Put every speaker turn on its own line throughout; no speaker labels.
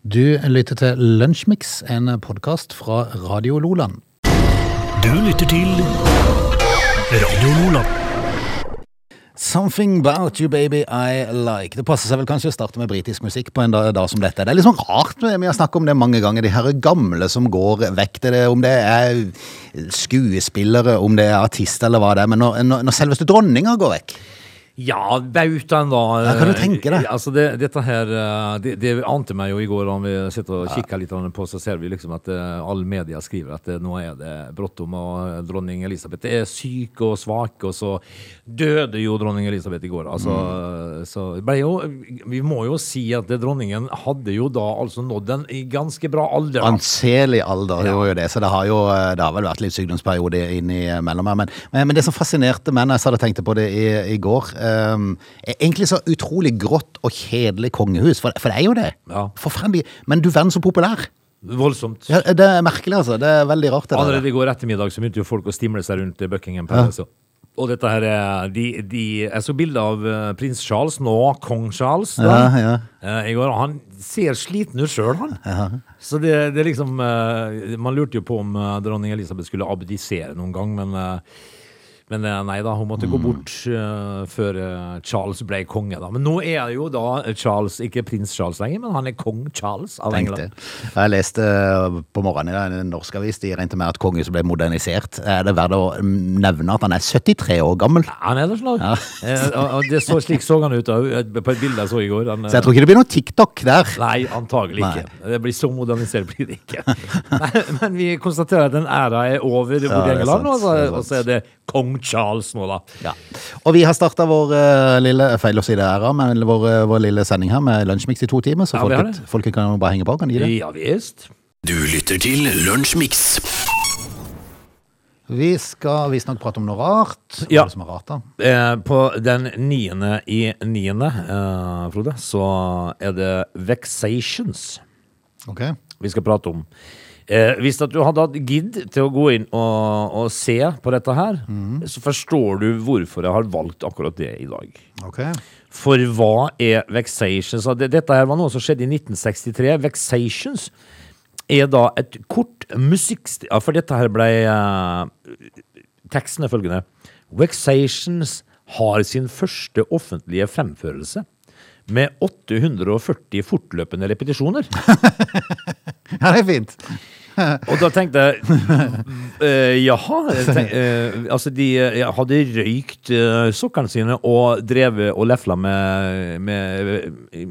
Du lytter til Lunsjmix, en podkast fra Radio Loland.
Du lytter til Radio Lola.
Something about you, baby, I like. Det passer seg vel kanskje å starte med britisk musikk på en dag, dag som dette. Det er litt sånn rart med, med å snakke om det mange ganger, de her gamle som går vekk til det, om det er skuespillere, om det er artister eller hva det er, men når, når, når selveste dronninga går vekk
Ja, bautaen, da.
Ja, kan du tenke deg?
Altså, det, dette her eh, det, det ante meg jo i går, om vi sitter og kikker litt på, så ser vi liksom at eh, all media skriver at eh, nå er det bråttom, og dronning Elisabeth er syk og svak, og så døde jo dronning Elisabeth i går. Altså,
Mm.
så det ble jo, vi må jo si at det, dronningen hadde jo da altså nådd en i ganske bra alder.
Anselig alder gjorde jo det, så det har jo eh, det har vel vært litt sykdomsperiode innimellom her. Men, men, men det som fascinerte meg når jeg satt og tenkte på det i, i går ehm, er Egentlig så utrolig grått og kjedelig kongehus, for, for det er jo det.
Ja.
Forferdelig. Men du verden så populær.
Voldsomt.
Ja, det er merkelig, altså. Det er veldig rart. Det, der.
Allerede i går ettermiddag så begynte jo folk å stimle seg rundt Buckingham Palace. Og dette her er de, de, Jeg så bilde av eh, prins Charles, nå kong Charles, da,
Ja, ja.
eh, i går. og Han ser sliten ut sjøl, han. Så det, det er liksom eh, Man lurte jo på om eh, dronning Elisabeth skulle abdisere noen gang, men eh, men eh, nei da, hun måtte
Mm.
gå bort eh, før eh, Charles ble konge. da Men nå er jo da Charles ikke prins Charles lenger, men han er kong Charles av
Tenk
England.
det. Jeg leste eh, på morgenen i dag en norsk avis de regnet med at kongehuset ble modernisert. Er det verdt å mm, nevne at han er 73 år gammel?
Han er det slag. Eh, og- og det så slik så han ut da, på et bilde jeg så i går. Han, eh,
Så jeg tror ikke det blir noe TikTok der.
Nei, antagelig ikke. Det blir så modernisert blir det ikke. Nei, men vi konstaterer at den æra er over i
det er sant,
England,
det er
og så-
sant.
og så er det kong Charles nå, da.
Ja. Og vi har starta vår eh, lille feil å si det æra, men vår, eh, vår lille sending her med lunsjmix i to timer, så
Ja, vi har
folket, folket kan jo bare henge på. Kan de det?
Ja visst.
Du lytter til Lunsjmix.
Vi skal visstnok prate om noe rart. Hva
Ja.
er det som er rart, da?
Eh, på den niende i niende, eh, Frode, så er det Vexations.
Ok.
vi skal prate om. Eh, hvis at du hadde hatt gidd til å gå inn og, og se på dette her, så forstår du hvorfor jeg har valgt akkurat det i dag.
Ok.
For hva er vexations? Og det- Dette her var noe som skjedde i 1963. Vexations er da et kort musikk... Ja, for dette her ble eh, Teksten er følgende. Vexations har sin første offentlige fremførelse med 840 fortløpende repetisjoner.
Ja, det er fint.
Og da tenkte jeg eh, Jaha. Tenk, eh, altså, de eh, hadde røykt eh, sokkene sine og drevet og lefla med, med eh,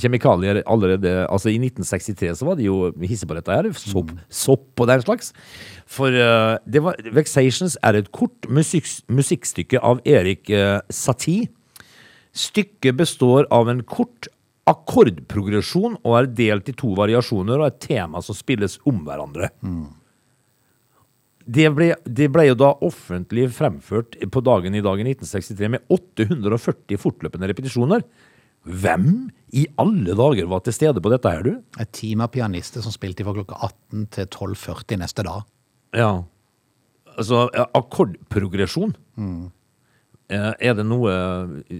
kjemikalier allerede Altså, i 1963 så var de jo hisse på dette her. Sopp, sopp og den slags. For eh, det var Vexations er et kort musikk, musikkstykke av Erik eh, Satie. Stykket består av en kort akkordprogresjon og er delt i to variasjoner og et tema som spilles om hverandre. Det, ble, det ble jo da offentlig fremført på dagen i dag i 1963 med 840 fortløpende repetisjoner. Hvem i alle dager var til stede på dette her, du?
Et team av pianister som spilte fra klokka 18 til 12.40 neste dag.
Ja. Altså, ja, akkordprogresjon.
Mm.
Eh, Er det noe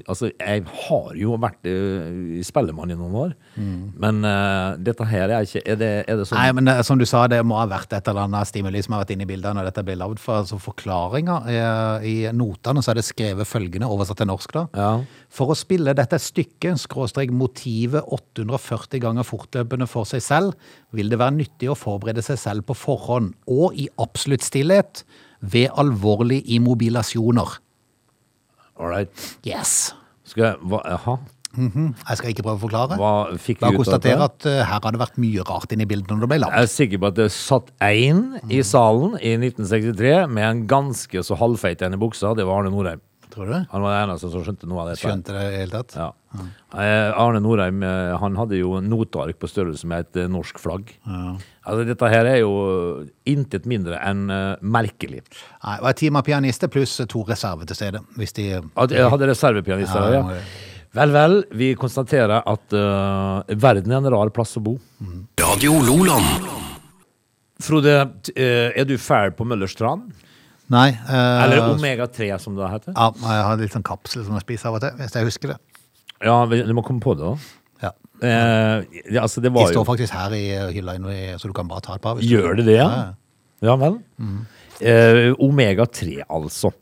Altså, jeg har jo vært eh, spellemann i noen år, men eh, dette her er ikke Er det, er det sånn
Mm. Nei, men eh, som du sa, det må ha vært et eller annet stimuli som har vært inne i bildet når dette ble lagd. For altså, forklaringa eh, i notene, så er det skrevet følgende, oversatt til norsk, da.
Ja.
For å spille dette stykket, skråstrek motivet 840 ganger fortløpende for seg selv, vil det være nyttig å forberede seg selv på forhånd, og i absolutt stillhet, ved alvorlige immobilasjoner.
All right.
Yes!
Skal jeg hva, Jaha?
Jeg skal ikke prøve å forklare.
Hva fikk
Bare
vi ut av det?
konstatere at eh, her har det vært mye rart inne i bildet når det ble lagd.
Jeg er sikker på at det satt én i salen i 1963 med en ganske så halvfeit en i buksa. Det var Arne Norheim.
Tror du? det?
Han var den eneste som skjønte noe av dette.
Skjønte det i det hele tatt?
Ja. Eh, Arne Norheim eh, han hadde jo noteark på størrelse med et eh, norsk flagg. Altså, dette her er jo intet mindre enn eh, merkelig.
Nei, det var et team av pianister pluss to reserver til stede. Hvis de
At jeg hadde reservepianister.
Ja,
Ja,
det må jeg.
Vel, vel, vi konstaterer at eh, verden er en rar plass å bo.
Radio Loland.
Frode, t- eh, er du fæl på Møllers tran?
Nei. eh,
Eller Omega-3, som det heter?
Ja, jeg har litt sånn kapsel som jeg spiser av og til, hvis jeg husker det.
Ja, vi- du må komme på det, da.
Ja.
Eh, ja, altså,
De
det var jo
står faktisk her i eh, hylla, inne i- så du kan bare ta et par. hvis du vil.
Gjør det det, ja?
Ja, Mm.
Ja vel. Eh, Omega-3, altså.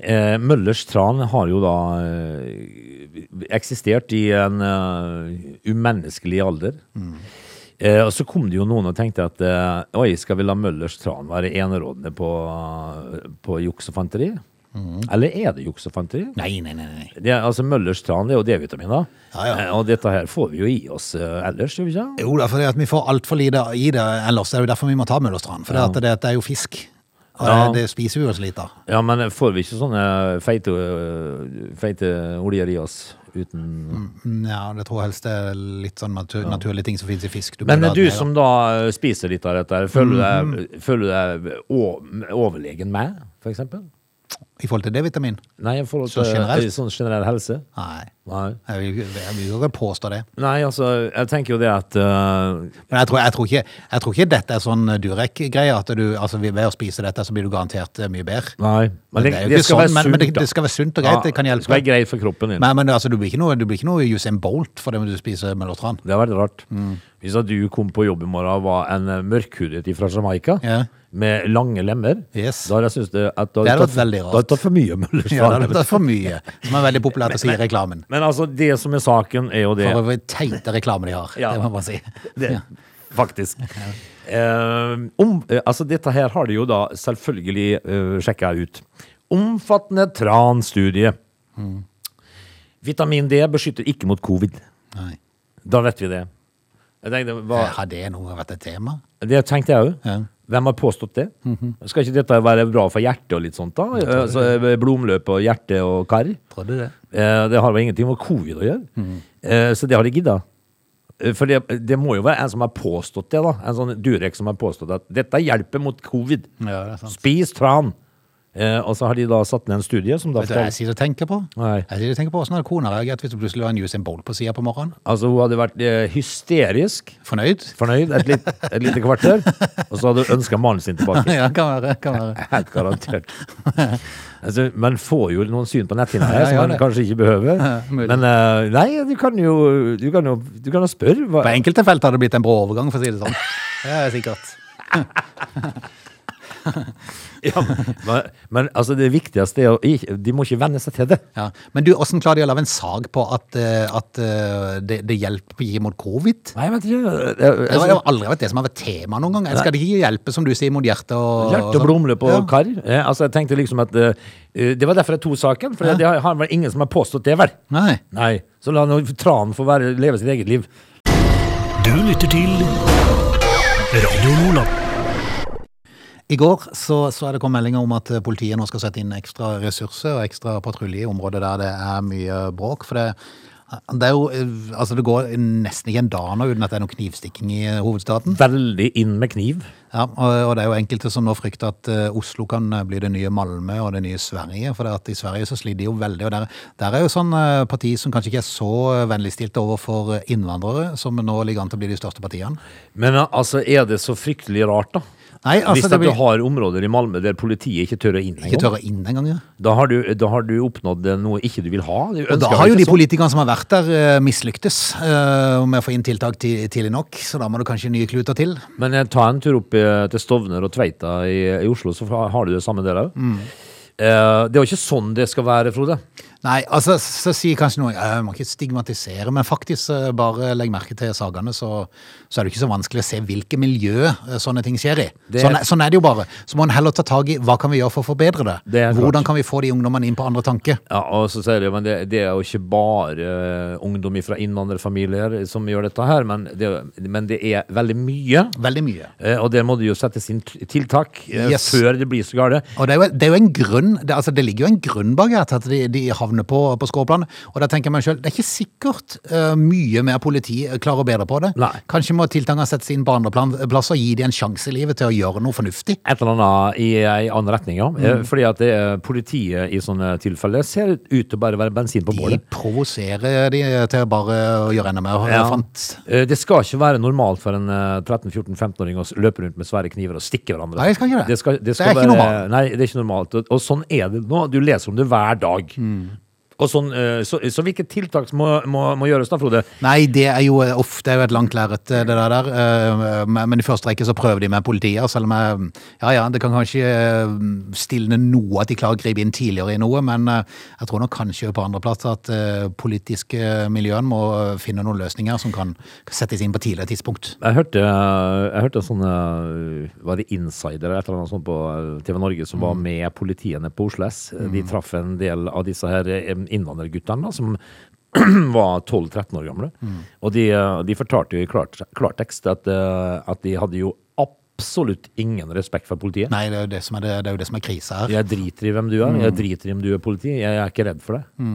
Eh, Møllers tran har jo da eh, eksistert i en eh, umenneskelig alder.
Mm.
Eh, og så kom det jo noen og tenkte at eh, oi, skal vi la Møllers tran være enerådende på, på juks og fanteri?
Mm.
Eller er det juks og fanteri?
Nei, nei, nei. nei.
Det er, altså Møllers tran det er jo D-vitaminer.
Ja, ja.
Eh, og dette her får vi jo i oss eh, ellers, gjør vi ikke? det?
Jo da, for det at vi får altfor lite i det ellers. Det er jo derfor vi må ta Møllerstrand. For det, at det, det er jo fisk. Og
Ja.
det, det spiser vi jo så lite av.
Ja, men får vi ikke sånne eh, feite, øh, feite oljer i oss uten
Mm, Ja, det tror jeg helst det er litt sånn natur, naturlige ting som finnes i fisk.
Men
bør
du
la den
som da øh, spiser litt av dette, her, føler du
Mm.
deg, føler du deg å- overlegen meg, for eksempel?
være. I forhold til D-vitamin?
Nei, i forhold
Så
til
generelt?
til sånn generell helse?
Nei.
Nei.
Jeg vil, ikke- jeg vil ikke påstå det.
Nei, altså, jeg tenker jo det at øh,
Men jeg tror, jeg tror, ikke, jeg tror ikke dette er sånn Durek-greie. At du, altså ved å spise dette, så blir du garantert eh, mye bedre.
Nei. Men det,
Det er jo
det
ikke
skal
sånn,
være
men- men
sunt,
det-
da.
det skal være sunt og greit, det kan hjelpe.
Det skal være greit for kroppen din.
Men, men altså, du blir ikke noe, du blir ikke noe Usain Bolt fordi om du spiser Møllerstrand.
Det har vært rart.
Mm.
Hvis at du kom på jobb i morgen og var en eh, mørkhudet fra Jamaica
Ja.
med lange lemmer,
Yes.
da hadde jeg syntes det at da
Det hadde
du
vært
tatt-
veldig rart.
Da hadde du tatt for mye Møllers
Ja,
Tran.
det er for mye. Som er veldig populært å si i reklamen.
Men altså, det som er saken, er jo det,
For over teite reklame de har.
Ja.
Det må jeg bare si.
det Faktisk. Eh, om, eh, altså, dette her har de jo da selvfølgelig uh, sjekka ut. Omfattende transtudie.
Mm.
Vitamin D beskytter ikke mot covid.
Nei.
Da vet vi det. Jeg tenkte, hva,
Har det noe vært et tema?
Det tenkte jeg òg.
Ja.
Hvem har påstått det?
Mhm.
Skal ikke dette være bra for hjertet og litt sånt, da? Altså, blomløp og hjerte og kar.
Tror du det?
Eh, Det har vel ingenting med covid å gjøre.
Mhm.
Eh, Så det har de gidda. Eh, For det, det må jo være en som har påstått det, da. En sånn Durek som har påstått at dette hjelper mot covid.
Ja, det er sant.
Spis tran! Eh, Og så har de da satt ned en studie som da
Vet du hva jeg
forteller
sitter og tenker på?
Nei.
Jeg sitter og tenker på Hvordan hadde kona reagert hvis det plutselig var en Usain Bolt på sida på morgenen?
Altså, hun hadde vært eh, hysterisk
Fornøyd?
fornøyd et, litt, et lite kvarter, og så hadde hun ønska mannen sin tilbake.
Ja, kan være. kan være.
Helt garantert. Altså, man får jo noen syn på netthinna her
Ja,
som
ja,
man
det.
kanskje ikke behøver.
mulig.
Men eh, nei, du kan jo Du kan jo, du kan jo spørre. Hva,
På enkelte felt hadde det blitt en brå overgang, for å si det sånn. Det er sikkert.
ja, men, men altså, det viktigste er å ikke De må ikke venne seg til det.
Ja. Men du, åssen klarer de å lage en sag på at, eh, at eh, det, det hjelper ikke mot covid?
Nei, men det, det,
Det har det har aldri vært det som har vært tema noen gang. Eller Skal det ikke hjelpe, som du sier, mot hjerte og
Hjerte og
sånn?
blomløp og
Ja.
kar. Eh, altså, jeg tenkte liksom at eh, eh, Det var derfor jeg tok saken, for det har, har vel ingen som har påstått det, vel?
Nei.
Nei. Så la nå tranen få være, leve sitt eget liv.
Du lytter til Radio Lola.
I går så, så er det kommet meldinger om at eh, politiet nå skal sette inn ekstra ressurser og ekstra patrulje i områder der det er mye bråk. For det, det er jo eh, Altså, det går nesten ikke en dag nå uten at det er noe knivstikking i eh, hovedstaden.
Veldig inn med kniv.
Ja, og, og det er jo enkelte som nå frykter at eh, Oslo kan eh, bli det nye Malmö og det nye Sverige. For det at i Sverige så sliter de jo veldig. Og der, der er jo sånn eh, parti som kanskje ikke er så eh, vennligstilt overfor eh, innvandrere, som nå ligger an til å bli de største partiene.
Men eh, altså, er det så fryktelig rart, da?
Nei, altså,
Hvis
det
at
blir-
du har områder i Malmö der politiet ikke tør å inn
Ikke
engang,
tørre inn engang. Ja.
da, har du- da har du oppnådd eh, noe ikke du vil ha. Du
Og da
ønsker
har jo
ikke
de
sånn.
politikerne som har vært der, eh, mislyktes eh, med å få inn tiltak ti- tidlig nok, så da må du kanskje nye kluter til.
Men eh, ta en tur opp eh, til Stovner og Tveita i, i Oslo, så har har du det samme der òg.
Mm.
Eh, det er jo ikke sånn det skal være, Frode.
Nei, altså, så sier kanskje noen jeg må ikke stigmatisere, men faktisk eh, bare legg merke til sagene, så, så er det ikke så vanskelig å se hvilke miljø eh, sånne ting skjer i.
Det-
Sånn, er- sånn er det jo bare. Så må en heller ta tak i hva kan vi gjøre for å forbedre det.
Det er klart.
Hvordan kan vi få de ungdommene inn på andre tanker?
Ja, og så sier de, men det, det er jo ikke bare eh, ungdom fra innvandrerfamilier som gjør dette her, men det, men det er veldig mye.
Veldig mye.
eh, og der må det jo settes inn t- tiltak eh,
Yes.
før det blir så gale.
Og det er, jo, det er jo en grunn, det, altså det ligger jo en grunn bak her til at de, de havner på, på skråplanet. Og da tenker jeg meg selv, det er ikke sikkert eh, mye mer politi eh, klarer å bedre på det.
Nei.
Kanskje må tiltakene settes inn på andre plan- plasser og gi de en sjanse i livet til å gjøre noe fornuftig.
et eller annet i en annen retning, ja.
Mm.
Eh, Fordi at det, er- politiet i sånne tilfeller ser ut til å bare være bensin på
De
bålet.
provoserer de til bare å gjøre enda mer
Ja.
fant.
Eh, Det skal ikke være normalt for en eh, 13-14-15-åring å s- løpe rundt med svære kniver og stikke hverandre.
Nei, det skal ikke det.
Det, skal,
Det
det, skal
er ikke
være,
normalt. Mm.
Nei, det er ikke normalt. Og, og sånn er det nå. Du leser om det hver dag. og sånn. eh, Så, så hvilke tiltak må, må, må gjøres da, Frode?
Nei, det er jo uff, det er jo et langt lerret, det der. der. Eh, Men men i første rekke så prøver de med politiet, selv om jeg Ja ja, det kan kanskje eh, stilne noe at de klarer å gripe inn tidligere i noe, men eh, jeg tror nok kanskje på andreplass at eh, politiske miljøene må eh, finne noen løsninger som kan settes inn på tidligere tidspunkt.
Jeg hørte, jeg hørte sånne Var det Insider eller et eller annet sånt på eh, TV Norge som var med politiene på Oslo S. Eh, De traff en del av disse her eh, innvandrerguttene da, som var 12-13 år gamle. Og de, eh, de fortalte jo i klart, klartekst at, eh, at de hadde jo absolutt ingen respekt for politiet.
Nei, det er jo det som er, det, det er, jo det som er krisa her.
Jeg driter i hvem du er. Jeg driter i om du er politi. Jeg er ikke redd for det.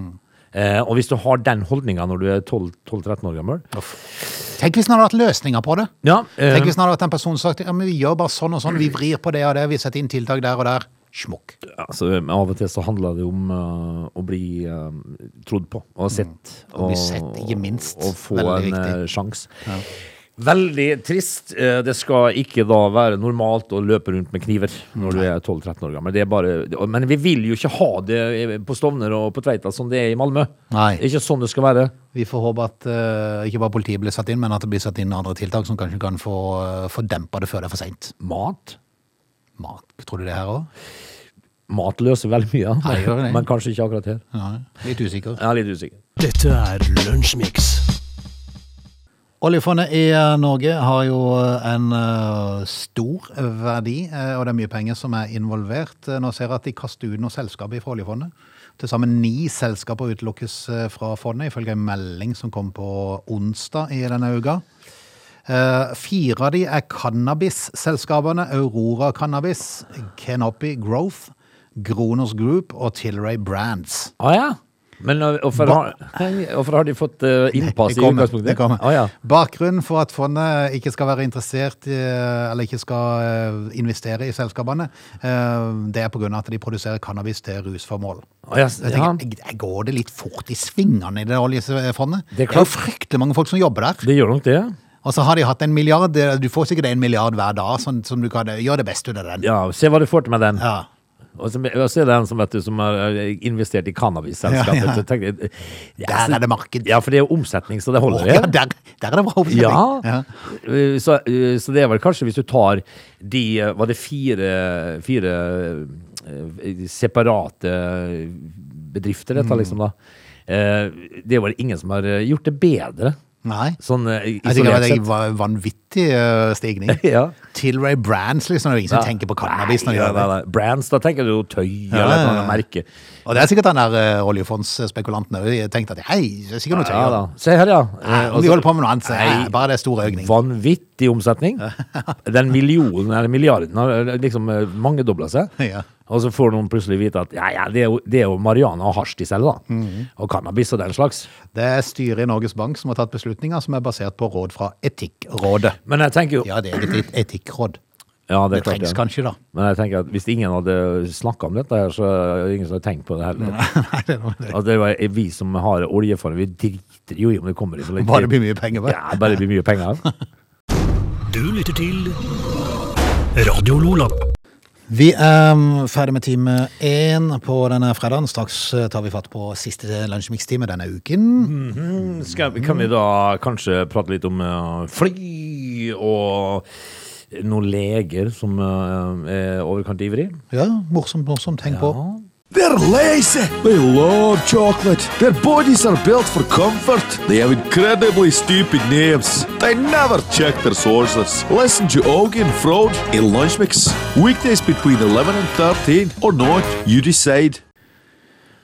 Eh, og hvis du har den holdninga når du er 12-13 år gammel
Tenk hvis det hadde vært løsninger på det.
ja, eh,
Tenk hvis det hadde vært en person som sagt ja, men vi gjør bare sånn og sånn, vi vrir på det og det, vi setter inn tiltak der og der. Smokk.
Altså, av og til så handler det om eh, å bli eh, trodd på og sett.
Mm. Å bli sett, ikke minst.
Og få
Veldig
en
viktig.
uh, sjanse. Veldig trist. Eh, Det skal ikke da være normalt å løpe rundt med kniver når du er 12-13 år gammel. Det er bare, det- men vi vil jo ikke ha det eh, på Stovner og på Tveita som det er i Malmö.
Nei.
Det er ikke sånn det skal være.
Vi får håpe at eh, ikke bare politiet blir satt inn, men at det blir satt inn andre tiltak som kanskje kan få, eh, få dempa det før det er for seint.
Mat?
Mat, tror du det her òg?
Mat løser veldig mye,
Nei, det gjør det.
men kanskje ikke akkurat her.
Litt usikker.
Jeg er litt usikker.
Dette er Lunsjmix.
Oljefondet i eh, Norge har jo en eh, stor verdi, eh, og det er mye penger som er involvert. Eh, Nå ser jeg at de kaster ut noen selskaper fra oljefondet. Til sammen ni selskaper utelukkes eh, fra fondet, ifølge en melding som kom på onsdag i denne uka. Eh, Fire av de er cannabisselskapene Aurora Cannabis, Canopy Growth, Gronos Group og Tilray Brands.
Ah, ja. Men eh, hvorfor har, hvorfor har de fått eh, innpass
Det
i
kommer,
utgangspunktet?
det kommer.
Ah, ja.
Bakgrunnen for at fondet ikke skal være interessert i, eller ikke skal eh, investere i selskapene, eh, det er pga. at de produserer cannabis til rusformål.
Ah, ja, s-
Jeg
ja.
tenker, jeg- jeg Går det litt fort i svingene i det oljefondet?
Det er
Det er,
klart.
jo fryktelig mange folk som jobber der.
Det gjør nok det.
Og så har de hatt en milliard. eh, Du får sikkert en milliard hver dag, sånn som du kan gjøre det beste ut av den.
Ja, Se hva du får til med den.
Ja.
Og så, og så er det en som, vet du, som har eh, investert i cannabisselskapet.
Ja, ja.
Så tenker jeg, eh, ja,
Der
så-
er det marked.
Ja, for det er jo omsetning, så det holder.
Å,
det.
ja, der, der er det bra oppsetning.
Ja.
Ja.
Eh, Så, eh, så det er vel kanskje hvis du tar de eh, Var det fire, fire eh, separate bedrifter
Mm.
dette, liksom, da? Eh, Det er vel ingen som har eh, gjort det bedre,
Nei.
sånn eh,
Jeg tenker
isolert
det
sett.
var en vanvittig eh, stigning.
Ja.
Tilray Brands, liksom. Det er jo ingen som tenker på cannabis når de
Nei,
gjør det.
nei, nei. Brands, da tenker du jo tøy
Ja,
eller
ja,
et eller annet
ja.
merke.
Og det er sikkert den der eh, oljefondsspekulanten òg. Tenkte at hei, det er sikkert noe tøy.
Ja, da. Se her, ja.
Nei,
Eh,
om
og
de
så-
holder på med noe annet, så
Nei.
eh, bare det er stor økning.
Vanvittig omsetning. Den millionen eller milliarden har liksom eh, mangedobla seg.
Ja.
Og så får noen plutselig vite at ja, ja, det er jo, det er jo marihuana og hasj de selger, da.
Mhm.
Og cannabis og den slags.
Det er styret i Norges Bank som har tatt beslutninger som er basert på råd fra Etikkrådet.
Men jeg tenker jo
Ja, det er et eget etikkråd.
Ja,
Det
er klart,
trengs
ja.
kanskje, da.
Men jeg tenker at hvis ingen hadde snakka om dette, her, så er det ingen som hadde tenkt på det heller. Altså, det var vi som har oljefondet, vi driter jo i om det kommer i så lenge.
Bare det blir mye penger, bare.
Ja, bare det blir mye penger.
Du lytter til Radio Lola.
Vi er ferdig med time én på denne fredagen. Straks eh, tar vi fatt på siste lunsjmikstime denne uken.
Mm. Skal, kan vi da kanskje prate litt om eh, fly og noen leger som eh, er overkant ivrig?
Ja, morsomt, morsomt. Tenk på.
They're lazy. They love chocolate. Their bodies are built for comfort. They have incredibly stupid names. They never check their sources. Listen to Augie and Frode in Lunch Mix. Weekdays between 11 and 13 or not, you decide.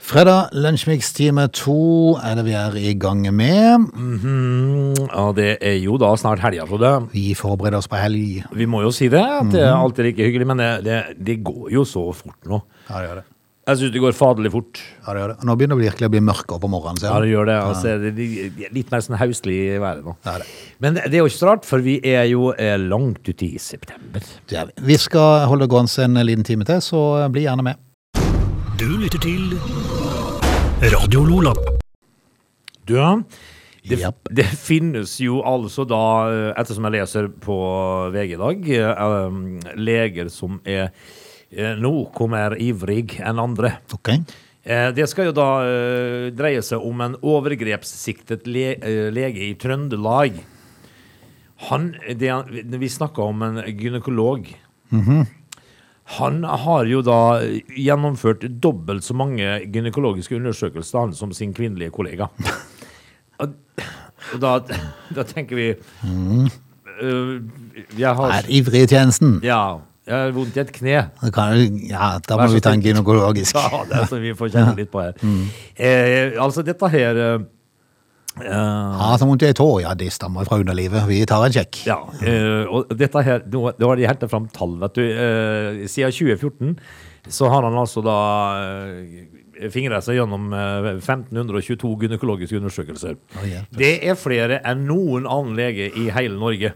Fredag, lunsjmix time to er det vi er i gang med.
Mm, Ja, det er jo da snart helga, Frode.
Vi forbereder oss på helg.
Vi må jo si det, at det er alltid like hyggelig, men det, det, det går jo så fort nå.
Ja, det gjør det.
Jeg syns det går faderlig fort.
Ja, det gjør det. Nå begynner det virkelig å bli mørkere på morgenen.
Ja,
Ser
det
du?
gjør det. Altså, det det- det er litt mer sånn høstlig i været nå.
Det er det.
Men det er jo ikke så rart, for vi er jo eh, langt ute i september.
Det er vi. Vi skal holde det gående en liten time til, så bli gjerne med.
Du lytter til Radio Lola.
Du, ja. Det,
Japp.
det finnes jo altså da, eh, ettersom jeg leser på VG i dag, eh, em, leger som er eh, noe mer ivrig enn andre.
Ok.
Eh, Det skal jo da eh, dreie seg om en overgrepssiktet le eh, lege i Trøndelag. Han, det, han- vi snakka om en gynekolog. Han har jo da gjennomført dobbelt så mange gynekologiske undersøkelser han som sin kvinnelige kollega. Og, og da, da tenker vi eh, Jeg har
Er ivrig i tjenesten.
Ja, jeg har vondt i et kne.
Da kan du- Ja, da
Vær
må
så
vi ta en
snill.
gynekologisk.
Ja, det er som vi får kjenne litt på her. Eh, altså, dette her eh, eh,
Ja, så vondt i ei tå. Ja, de stammer fra underlivet. Vi tar en sjekk.
Ja. Eh, og dette her Nå nå har de henta fram tall, vet du. Eh, siden 2014 så har han altså da eh, fingra seg gjennom eh, 1522 gynekologiske undersøkelser.
hjelpes.
det er flere enn noen annen lege i hele Norge.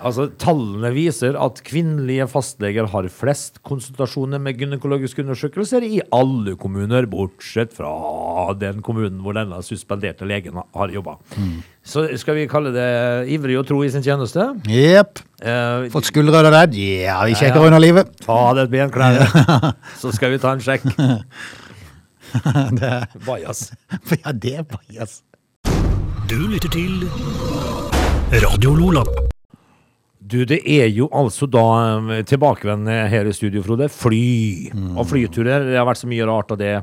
Altså, Tallene viser at kvinnelige fastleger har flest konsultasjoner med gynekologiske undersøkelser i alle kommuner, bortsett fra den kommunen hvor denne suspenderte legen har jobba. Så skal vi kalle det ivrig og tro i sin tjeneste.
Jepp.
Eh,
Fått skuldra der. Ja, vi sjekker
Ja, ja.
underlivet.
ta av deg benklærne, så skal vi ta en sjekk.
Det er,
Bajas.
ja, det er bajas.
Du lytter til Radio Lola.
Du, det er jo altså da eh, tilbakevendende her i studio, Frode. Fly
Mm.
og flyturer. Det har vært så mye rart av det.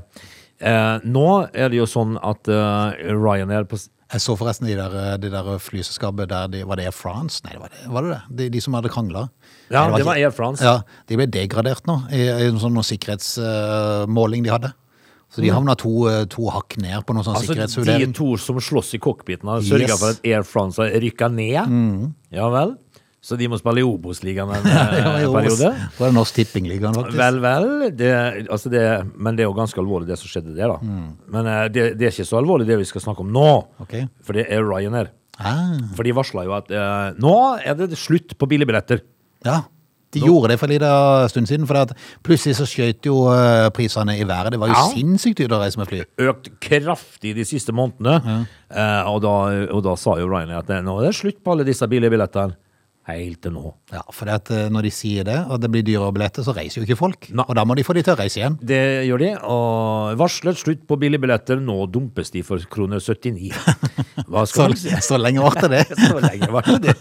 Eh, nå er det jo sånn at eh, Ryanair på s-
Jeg så forresten de der, eh, de der flyselskapet der de, Var det Air France? Nei, det var det var det? det? De, de som hadde krangla?
Ja,
Nei,
det var
ikke-
Air France.
Ja, De ble degradert nå, i, i en sånn noe sikkerhetsmåling de hadde. Så de havna to, eh, to hakk ned på noen sånn
Mm. Altså, de
sikkerhetsvurdering.
to som slåss i cockpiten, har sørga
Yes. Mm.
for at Air France har rykka ned. Ja vel? Så de må spille i Obos-ligaen en
Det var
eh,
jo-
periode.
Det var Norsk Tippingligaen, faktisk.
Vel, vel. Det, altså det, men det er jo ganske alvorlig, det som skjedde der, da. Men eh, det, det er ikke så alvorlig, det vi skal snakke om nå.
Ok.
For det er Ryanair.
Ah,
For de varsla jo at eh, nå er det slutt på billigbilletter.
ja. De gjorde det for en liten eh, stund siden, for at plutselig så skjøt jo eh, prisene i været. Det var jo
Ja.
sinnssykt dyrt å reise med fly.
Økt kraftig de siste månedene. Eh, og, da, og da sa jo Ryanair at eh, nå er det slutt på alle disse billigbillettene. Helt til nå.
Ja, for det at eh, når de sier det, og det blir dyrere billetter, så reiser jo ikke folk.
Nei.
Og da må de få de til å reise igjen.
Det gjør de, og varslet slutt på billigbilletter. Nå dumpes de for kroner 79. Hva
Så,
skal man si?
så lenge varte det.
Så lenge var det det.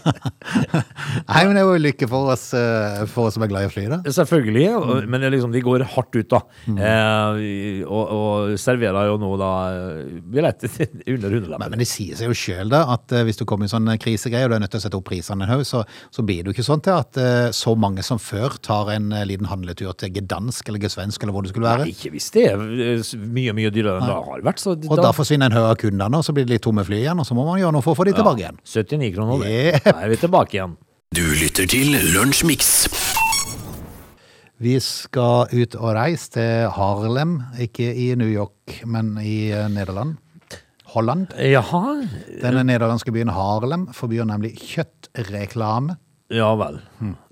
Nei, men det var jo lykke for oss, eh, for oss som er glad i å fly, da.
Selvfølgelig, og- men det er liksom, de går hardt ut, da. Eh, og, og serverer jo nå da eh, billetter til under
Men,
hundrelappen.
men det sier seg jo sjøl, da, at eh, hvis du kommer i sånne krisegreier og du er nødt til å sette opp prisene en haug, så, så blir det jo ikke sånn til at eh, så mange som før tar en eh, liten handletur til Gdansk eller Gesvensk eller hvor det skulle være.
Ikke hvis det er eh, s- mye, mye dyrere enn det har vært. Så
Og da forsvinner en haug av kundene, og så blir det litt tomme fly igjen, og så må man gjøre noe for å få de tilbake igjen.
79 kroner, det.
Jepp.
Da er vi tilbake igjen.
Du lytter til Lunsjmix.
Vi skal ut og reise til Harlem, ikke i New York, men i eh, Nederland. Holland.
Jaha.
Denne nederlandske byen Harlem forbyr nemlig kjøttreklame.
Ja vel.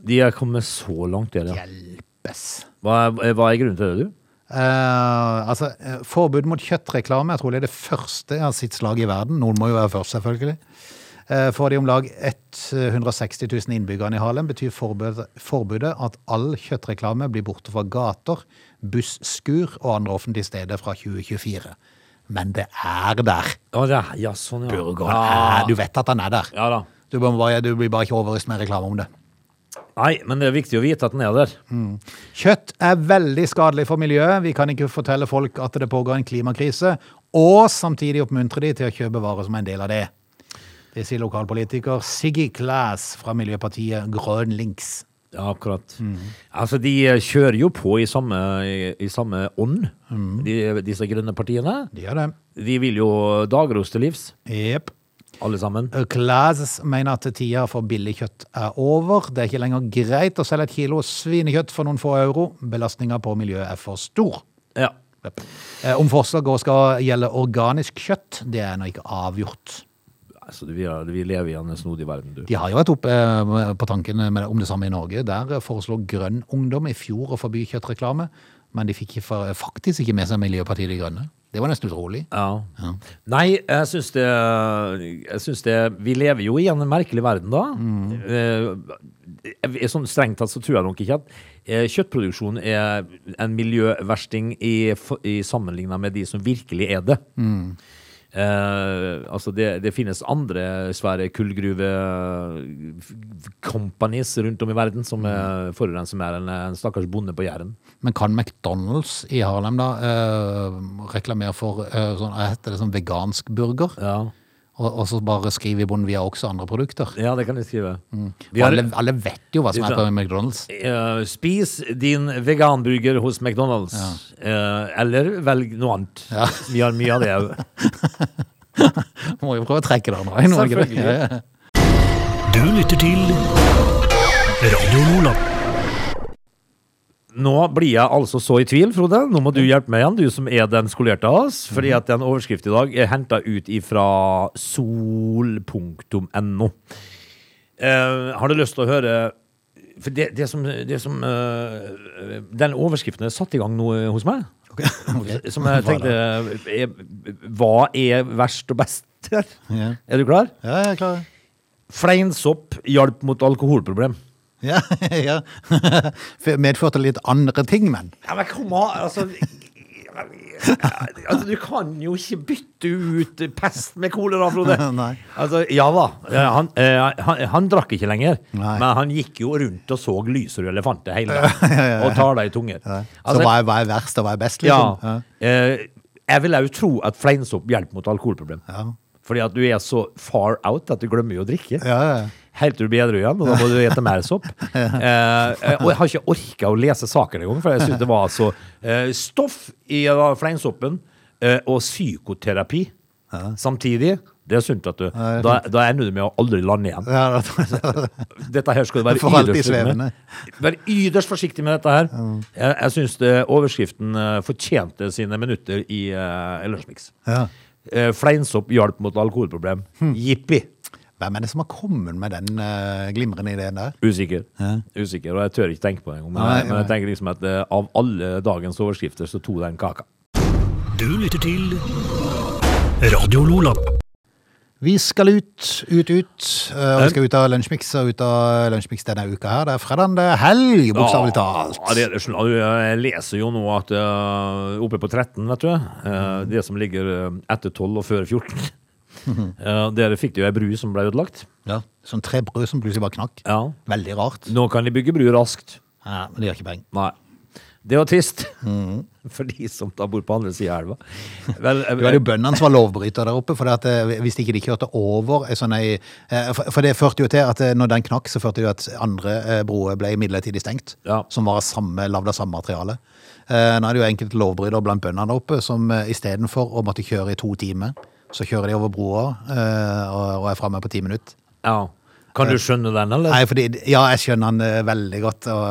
De er kommet så langt, der, Mm. ja.
Hjelpes!
Hva er, hva er grunnen til det, du?
Eh, altså, eh, forbud mot kjøttreklame er trolig det første av sitt slag i verden. Noen må jo være først, selvfølgelig. Eh, For de om lag 160 000 innbyggerne i Harlem betyr forbudet, forbudet at all kjøttreklame blir borte fra gater, busskur og andre offentlige steder fra 2024. Men det er der.
Å, det er, ja, sånn, ja.
Burgeren
ja.
er Du vet at den er der.
Ja da.
Du, må bare, du blir bare ikke overøst med reklame om det.
Nei, men det er viktig å vite at den er der.
Kjøtt er veldig skadelig for miljøet. Vi kan ikke fortelle folk at det pågår en klimakrise, og samtidig oppmuntre de til å kjøpe varer som er en del av det. Det sier lokalpolitiker Siggy Klæs fra miljøpartiet Grønn Links.
Ja, akkurat. Altså, de eh, kjører jo på i samme, i, i samme ånd, de, disse grønne partiene.
De gjør det.
De vil jo dagros til livs,
Jepp.
alle sammen.
Klæs mener at tida for billig kjøtt er over. Det er ikke lenger greit å selge et kilo svinekjøtt for noen få euro. Belastninga på miljøet er for stor.
Ja.
Jepp. Eh, Om forslaget også skal gjelde organisk kjøtt, det er ennå ikke avgjort.
Altså, vi, er- vi lever i en snodig verden, du.
De har jo vært oppe eh, på tanken med, om det samme i Norge. Der foreslo Grønn Ungdom i fjor å forby kjøttreklame, men de fikk ikke fa- faktisk ikke med seg Miljøpartiet De Grønne. Det var nesten utrolig.
Ja. Nei, jeg syns det Jeg syns det Vi lever jo i en merkelig verden, da. Eh, jeg- sånn strengt tatt så tror jeg nok ikke at eh, kjøttproduksjon er en miljøversting i, f- i sammenlignet med de som virkelig er det. Eh, altså det, det finnes andre svære kullgruve-companies rundt om i verden som eh, forurenser mer enn en stakkars bonde på Jæren.
Men kan McDonald's i Harlem da eh, reklamere for eh, sånn, hva heter det, sånn vegansk burger?
Ja.
Og, og så bare skrive i bunnen vi har også andre produkter.
ja, det kan jeg skrive. Vi
For
har-
alle, alle vet jo hva som
Vi
er på
har-
McDonald's.
Eh, spis din veganburger hos McDonald's. Eh, eller velg noe annet. Vi har mye av det òg.
Må jo prøve å trekke det andre veien. må ikke det?
Selvfølgelig.
Ja, ja.
Du lytter til Radio Lola.
Nå blir jeg altså så i tvil, Frode. Nå må du hjelpe meg igjen, du som er den skolerte av oss. Fordi
Mhm.
at en overskrift i dag er henta ut ifra sol.no. Eh, har du lyst til å høre For det, det som, det som eh, Den overskriften er satt i gang nå eh, hos meg. eh, Som jeg
Hva
tenkte er, Hva er verst og best her?
Ja.
Er du klar?
Ja, jeg er klar.
Fleinsopp hjalp mot alkoholproblem.
Ja, ja. Medførte litt andre ting, men.
Ja, men kom an, altså Altså, Du kan jo ikke bytte ut pest med kolera, Frode.
Nei.
Altså, ja da, eh, han, eh, han, han drakk ikke lenger,
Nei.
men han gikk jo rundt og så lyserøde elefanter hele dagen. Og tar deg i tunger.
Så hva er, hva er verst og hva er best, liksom?
Altså- ja, eh, jeg vil jo tro at fleinsopp hjelper mot alkoholproblem. Fordi at du er så far out at du glemmer jo å drikke.
Ja, ja, ja.
Helt til du blir edru igjen, og da må du ete mer sopp. Eh, eh, og jeg har ikke orka å lese saken engang, for jeg syntes det var så eh, Stoff i da fleinsoppen eh, og psykoterapi samtidig. Det er sunt at du Da, da ender du med å aldri lande igjen.
Ja, da-
Dette her skal du være
For alltid
yderst forsiktig
svevende.
med. Vær yderst forsiktig med dette her. Jeg, jeg syns overskriften eh, fortjente sine minutter i, eh, i Lunsjmix.
Ja. Hm.
Eh, fleinsopp hjalp mot alkoholproblem. Jippi.
Hvem er det som har kommet med den eh, glimrende ideen der?
Usikker. Usikker, og jeg tør ikke tenke på det engang. Men,
Nei,
jeg- men jeg
nei.
tenker liksom at eh, av alle dagens overskrifter, så tok den kaka.
Du lytter til Radio Lola.
Vi skal ut, ut, ut. Eh, og vi skal ut av Lunsjmix og ut av Lunsjmix denne uka her. Det er fredag, det er helg, bokstavelig talt.
Ah, Ja, det, er- skjønner du, jeg leser jo nå at eh, oppe på 13, vet du, eh, det som ligger eh, etter 12 og før 14 eh, Der fikk de jo ei bru som ble ødelagt.
Ja, Sånn tre brød som plutselig bare knakk.
Ja.
Veldig rart.
Nå kan de bygge bru raskt.
Ja, men det gjør ikke penger.
Nei. Det var trist.
Mhm.
For de som da bor på andre sida av elva. Vel, eh,
Det var jo bøndene som var lovbrytere der oppe, for at, eh, hvis ikke de kjørte over ei sånn ei eh, For for det førte jo til at eh, når den knakk, så førte det jo at andre eh, broer ble midlertidig stengt.
Ja.
Som var av samme, lagd av samme materiale. Eh, Nå er det jo enkelte lovbrytere blant bøndene der oppe som eh, istedenfor å måtte kjøre i to timer, så kjører de over broa eh, og og er framme på ti minutter.
ja. Kan du skjønne den, eller?
Eh, Nei, fordi, ja, jeg skjønner han eh, veldig godt, og,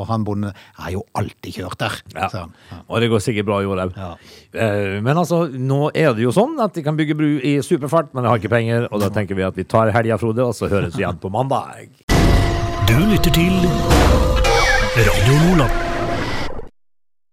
og han bonden Jeg har jo alltid kjørt der,
Ja.
sa han. Ja.
Og det går sikkert bra i år òg.
Ja.
Eh, Men altså, nå er det jo sånn at de kan bygge bru i superfart, men de har ikke penger. Og da tenker vi at vi tar helga, Frode, og så høres vi igjen på mandag.
Du lytter til Radio Lola.